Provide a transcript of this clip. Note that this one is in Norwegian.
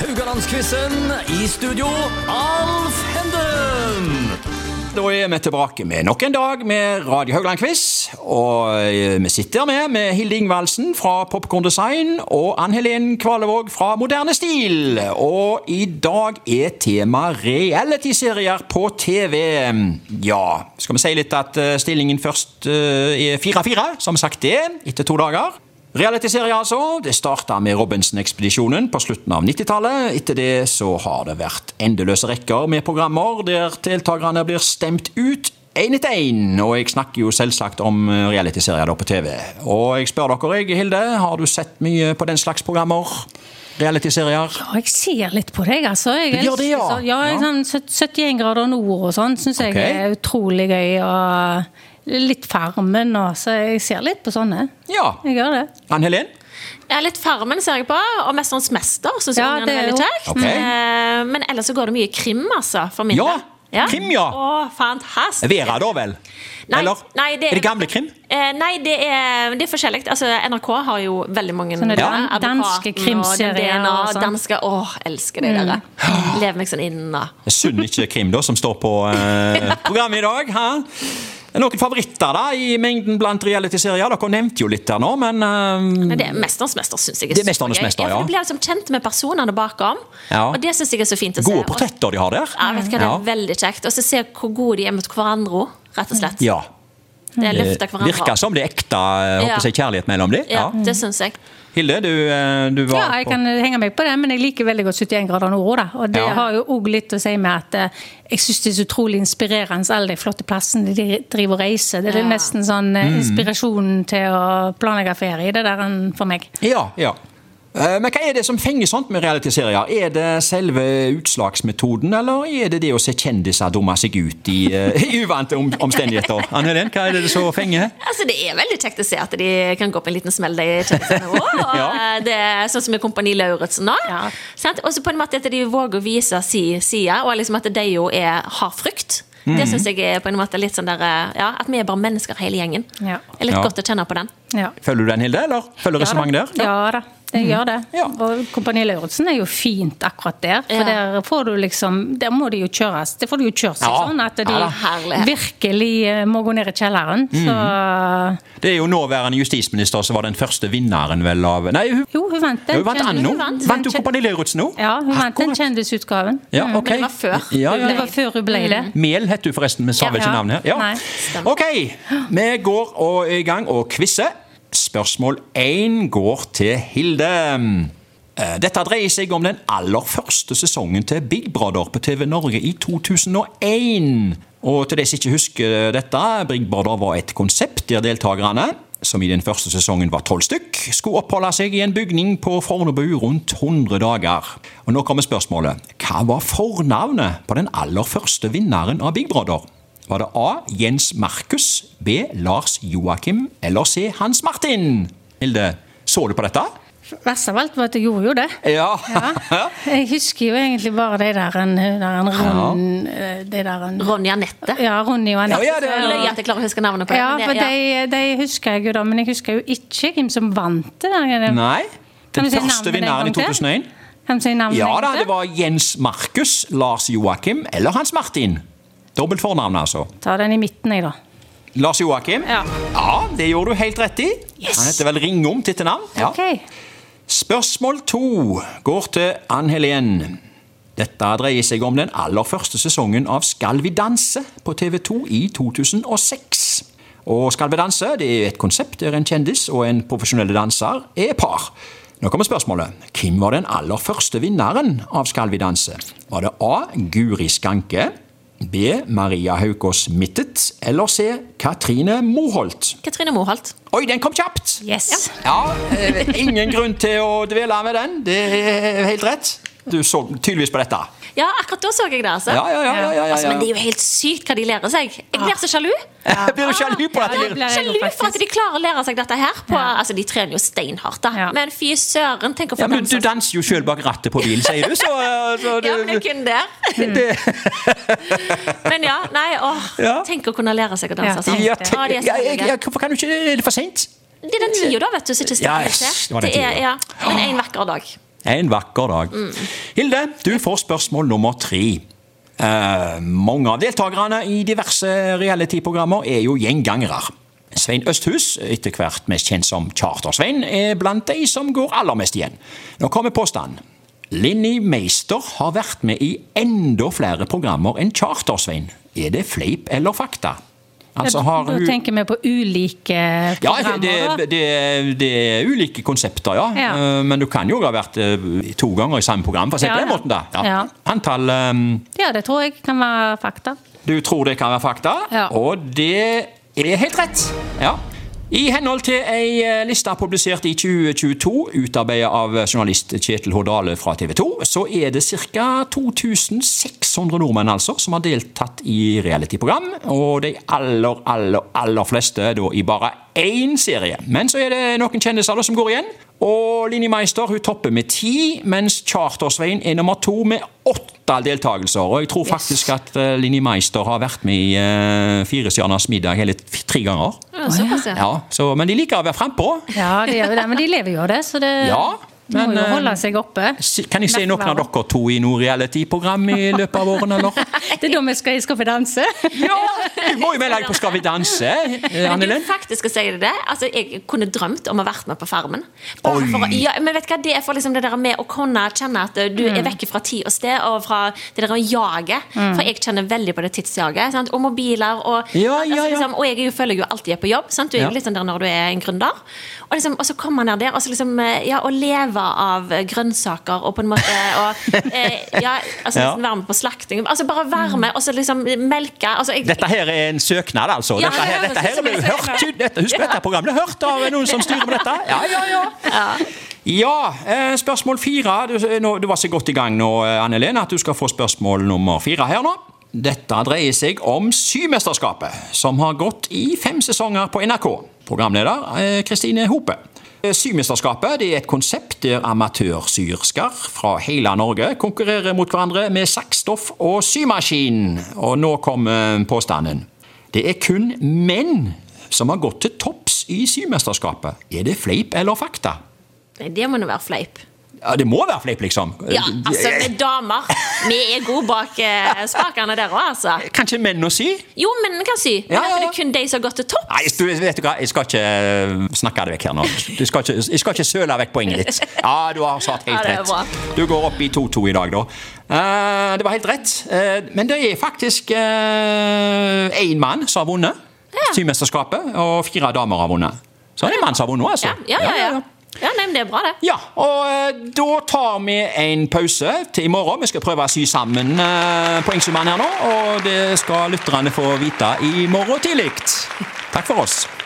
Rogalandsquizen. I studio, Alf Henden. Da er vi tilbake med nok en dag med Radio Haugland-quiz. Og eh, vi sitter med, med Hilde Ingvaldsen fra Popcorn Design og Ann Helen Kvalevåg fra Moderne Stil. Og i dag er tema realityserier på TV. Ja, skal vi si litt at eh, stillingen først eh, er 4-4, som sagt det, etter to dager. Realityserier, altså. Det starta med Robinson-ekspedisjonen på slutten av 90-tallet. Etter det så har det vært endeløse rekker med programmer der deltakerne blir stemt ut én etter én. Og jeg snakker jo selvsagt om eh, realityserier da på TV. Og jeg spør dere, jeg, Hilde, har du sett mye på den slags programmer? Realityserier? Ja, jeg ser litt på deg, altså. Jeg Du gjør det, ja? elsker sånn- ja, jeg, Ja. sånn syt- 71 grader nord og sånn syns Ok. jeg er utrolig gøy. Og litt Farmen og Så jeg ser litt på sånne. Ja. Jeg gjør det. Ann Helen? Ja, litt Farmen ser jeg på, og Mesterens mester. Synes Ja, det jeg den er er veldig jo- kjekt. Ok. Eh, Men ellers så går det mye krim, altså, for min Ja, del. krim, ja. Å, fantastisk. Vera, da vel? Nei, Eller? nei, det er- er det gamle krim? Eh, nei, det er, det er forskjellig. Altså, NRK har jo veldig mange Sånne Ja. dan- danske Advokaten krimserier og den DNA, og sånn. danske, åh, elsker det dere. Mm. Lever meg sånn inn da. Det er synd ikke Kim da, som står på eh, programmet i dag. Hæ? Er det Noen favoritter da, i mengden blant realityserier? Dere nevnte jo litt der nå, men eh, Men det er Mesterens mester syns jeg er, Det er Mesternes supergøy. Mester, for ja. Du blir liksom kjent med personene bakom, Ja. og det syns jeg er så fint å gode se. Og- portretter de har der. Ja, vet du hva, det Ja. er veldig kjekt. Og så se hvor gode de er mot hverandre, rett og slett. Ja. Det løfter Det hverandre. virker som det er ekte eh, håper Ja. jeg å si, kjærlighet mellom dem. Ja, Ja. det syns jeg. Hilde, du, eh, du Ja, var jeg kan henge meg på det, men jeg liker veldig godt 71 grader nord òg, da. Og det Ja. har jo òg litt å si med at eh, jeg syns det er så utrolig inspirerende, alle de flotte plassene de driver og reiser. Det er Ja. nesten sånn eh, Mm. inspirasjonen til å planlegge ferie, det der enn for meg. på ja, ja. Eh, Men hva er det som fenger sånt med realityserier? Er det selve utslagsmetoden, eller er det det å se kjendiser dumme seg ut i, eh, i uvante om, omstendigheter? Anne Helen, hva er det som fenger? Altså, Det er veldig kjekt å se at de kan gå på en liten smell, de kjendisene òg. Ja. Sånn som i Kompani Lauritzen nå. Ja. Sant? Og så på en måte at de våger å vise si side, og liksom at de jo er, har frykt. Mm. Det syns jeg er på en måte litt sånn der, ja, at vi er bare mennesker hele gjengen. Ja. Det er litt Ja. godt å kjenne på den. Ja. Følger du den, Hilde, eller følger resonnementet der? Mm. Ja da, jeg gjør det. Ja. Og Kompani Lauritzen er jo fint akkurat der. For Ja. der får du liksom Der må de jo kjøres. Det får de jo kjørt seg Ja. Mm. sånn at de Ja, herlighet. virkelig eh, må gå ned i kjelleren. Så Det er jo nåværende justisminister som var den første vinneren vel av Nei, hun, jo, hun vant den. hun vant kjendis- Anno. hun vant. Vant hun Kompani Lauritzen nå? Ja, hun vant den Akkurat. kjendisutgaven. Ja, ok. det var før. Ja, ja. Mm. Det var før hun ble det. Mel het hun forresten, men sa Ja. vel ikke navnet her. Nei, Ja. stemmer. Ok, vi går og, i gang og quizer. Spørsmål én går til Hilde. Eh, Dette dreier seg om den aller første sesongen til Big Brother på TV Norge i 2001. Og til de som ikke husker dette, Big Brother var et konsept der deltakerne, som i den første sesongen var tolv stykk, skulle oppholde seg i en bygning på Fornebu rundt 100 dager. Og nå kommer spørsmålet. Hva var fornavnet på den aller første vinneren av Big Brother? Var det A. Jens Markus, B. Lars Joakim eller C. Hans Martin? Hilde, så du på dette? Verst av alt var at jeg gjorde jo det. Ja. Jeg husker jo egentlig bare de der en, der en rund eh, De der en Ronja Nette. Ja, Ronny og Anette. Ja, ja, det- Jeg løy at jeg klarer å huske navnet på det. Ja, men for det- de, de husker jeg jo da, men jeg husker jo ikke hvem som vant det. der. Nei. Kan Den du si første navnet en vinneren i gang til? 2001? Kan du si navnet? Ja en gang da, til? det var Jens Markus, Lars Joakim eller Hans Martin. Dobbelt fornavn, altså. Ta den i midten, jeg, da. Lars Joakim. Ja. det gjorde du helt rett i. Han heter vel Ringom til etternavn. Ja. Ok. Spørsmål to går til Ann Helen. Dette dreier seg om den aller første sesongen av Skal vi danse på TV 2 i 2006. Og Skal vi danse det er et konsept der en kjendis og en profesjonell danser er par. Nå kommer spørsmålet. Hvem var den aller første vinneren av Skal vi danse? Var det A. Guri Skanke? B. Maria Haukås Mittet? Eller C. Katrine Moholt? Katrine Moholt. Oi, den kom kjapt! Yes. Ja, eh, ingen grunn til å dvele ved den. Det er helt rett. Du så tydeligvis på dette. Ja, akkurat da så jeg det, altså. Ja, ja, ja. ja, ja, Altså, men det ja. er jo helt sykt hva de lærer seg. Jeg blir så sjalu. Blir du sjalu på Ah. Ja, det dette? blir- jeg Sjalu for at faktisk. de klarer å lære seg dette her. På, altså, de trener jo steinhardt, da. Ja. Men fy søren, tenk å Ja, få men du danse. danser jo sjøl bak rattet på bilen, sier du, så, eh, så Ja, men det er du, kun der. Mm. men ja, nei, åh. Ja. Tenk å kunne lære seg å danse. Ja, altså. ja, Å, tenk, de er så ja, jeg- herlige. ja, Hvorfor kan du ikke Er det for seint? Det er den tida, da, vet du, som ikke Ja, strekker det var til. den Det er, tiden. ja. Men en vakker dag. En vakker dag. Hilde, du får spørsmål nummer tre. Eh, mange av deltakerne i diverse reality-programmer er jo gjengangere. Svein Østhus, etter hvert mest kjent som Charter-Svein, er blant de som går aller mest igjen. Nå kommer påstanden. Linni Meister har vært med i enda flere programmer enn Charter-Svein. Er det fleip eller fakta? Altså, har da hun... tenker vi på ulike Ja, programmer. da. det, det, det er ulike konsepter, ja. Ja. Eh, Men du kan jo ha vært eh, to ganger i samme program, for å si det på Ja, den ja. måten. da. Ja. Antall eh, ja, det tror jeg kan være fakta. du tror det kan være fakta, Ja. og det er helt rett. Ja. I henhold til ei eh, liste publisert i 2022, utarbeidet av eh, journalist Kjetil Hordale fra TV 2, så er det ca. 2600 nordmenn altså, som har deltatt i reality-program. Og de aller, aller, aller fleste da i bare én serie. Men så er det noen kjendiser da som går igjen. Og Linni Meister hun topper med ti, mens Charter-Svein er nummer to med åtte deltakelser. Og jeg tror faktisk at eh, Linni Meister har vært med i uh, Firestjerners middag hele f- tre ganger. Ja, såpass, ja. Ja, så, men de liker å være frempå. Ja, de gjør jo det, men de lever jo av det, så det Ja, må men, jo eh, holde seg oppe. Si- Kan jeg se noen av dere to i noe reality-program i løpet av årene, eller? Det er da vi skal i Skal vi danse. Ja! Du må jo melde deg på Skal vi danse, eh, Men Anne du, Linn. faktisk skal jeg si deg det. Altså, jeg kunne drømt om å ha vært med på Farmen. Bare Oi. For, å- ja, men vet du hva, det er for liksom det der med å kunne kjenne at eh, du Mm. er vekk fra tid og sted, og fra det der å jage. For jeg kjenner veldig på det tidsjaget. Sant? Og mobiler, og, Ja, ja, ja. liksom, og jeg er jo, føler jeg jo alltid er på jobb. Sant? Du er Ja. jo litt sånn der når du er en gründer. Og, liksom, og så kommer man ned der, og så liksom eh, Ja, å leve av eh, grønnsaker og på en måte og, eh, Ja, altså Ja. Mm. nesten være med på slakting. Altså bare være med, og så liksom melke. Altså, jeg, Dette her er en søknad, altså. Ja, Dette her, det dette høres her ut som ble en hørt, søknad. ut- dette, husk, dette programmet ble hørt av noen som styrer med dette. Ja, ja, ja. Ja, eh, spørsmål fire. Du, eh, nå, du var så godt i gang nå, eh, Anne Lene, at du skal få spørsmål nummer fire her nå. Dette dreier seg om Symesterskapet, som har gått i fem sesonger på NRK. Programleder eh, Kristine Hope. Eh, Symesterskapet det er et konsept der amatørsyersker fra hele Norge konkurrerer mot hverandre med saksstoff og symaskin. Og nå kommer påstanden. Det er kun menn som har gått til topps i Symesterskapet. Er det fleip eller fakta? Nei, det må nå være fleip. Ja, det må være fleip, liksom. Ja, altså, med damer. Vi er gode bak eh, spakene der òg, altså. Kan ikke menn å si? Jo, men vi kan si Ja, ja, ja. at det er kun de som har gått til topp. Nei, du, vet du hva, jeg skal ikke eh, snakke det vekk her nå. Du skal ikke, jeg skal ikke søle vekk poenget ditt. Ja, du har sagt Ja, helt det er bra. rett. Du går opp i 2-2 i dag, da. Eh, det var helt rett. Eh, men det er faktisk eh, én mann som har vunnet Symesterskapet, og fire damer har vunnet. Så det er en mann som har vunnet, altså. Ja, ja, ja. ja. ja nei, men det er bra, det. Ja, og eh, da tar vi en pause til i morgen. Vi skal prøve å sy sammen eh, poengsummene her nå, og det skal lytterne få vite i morgen tidlig. Takk for oss.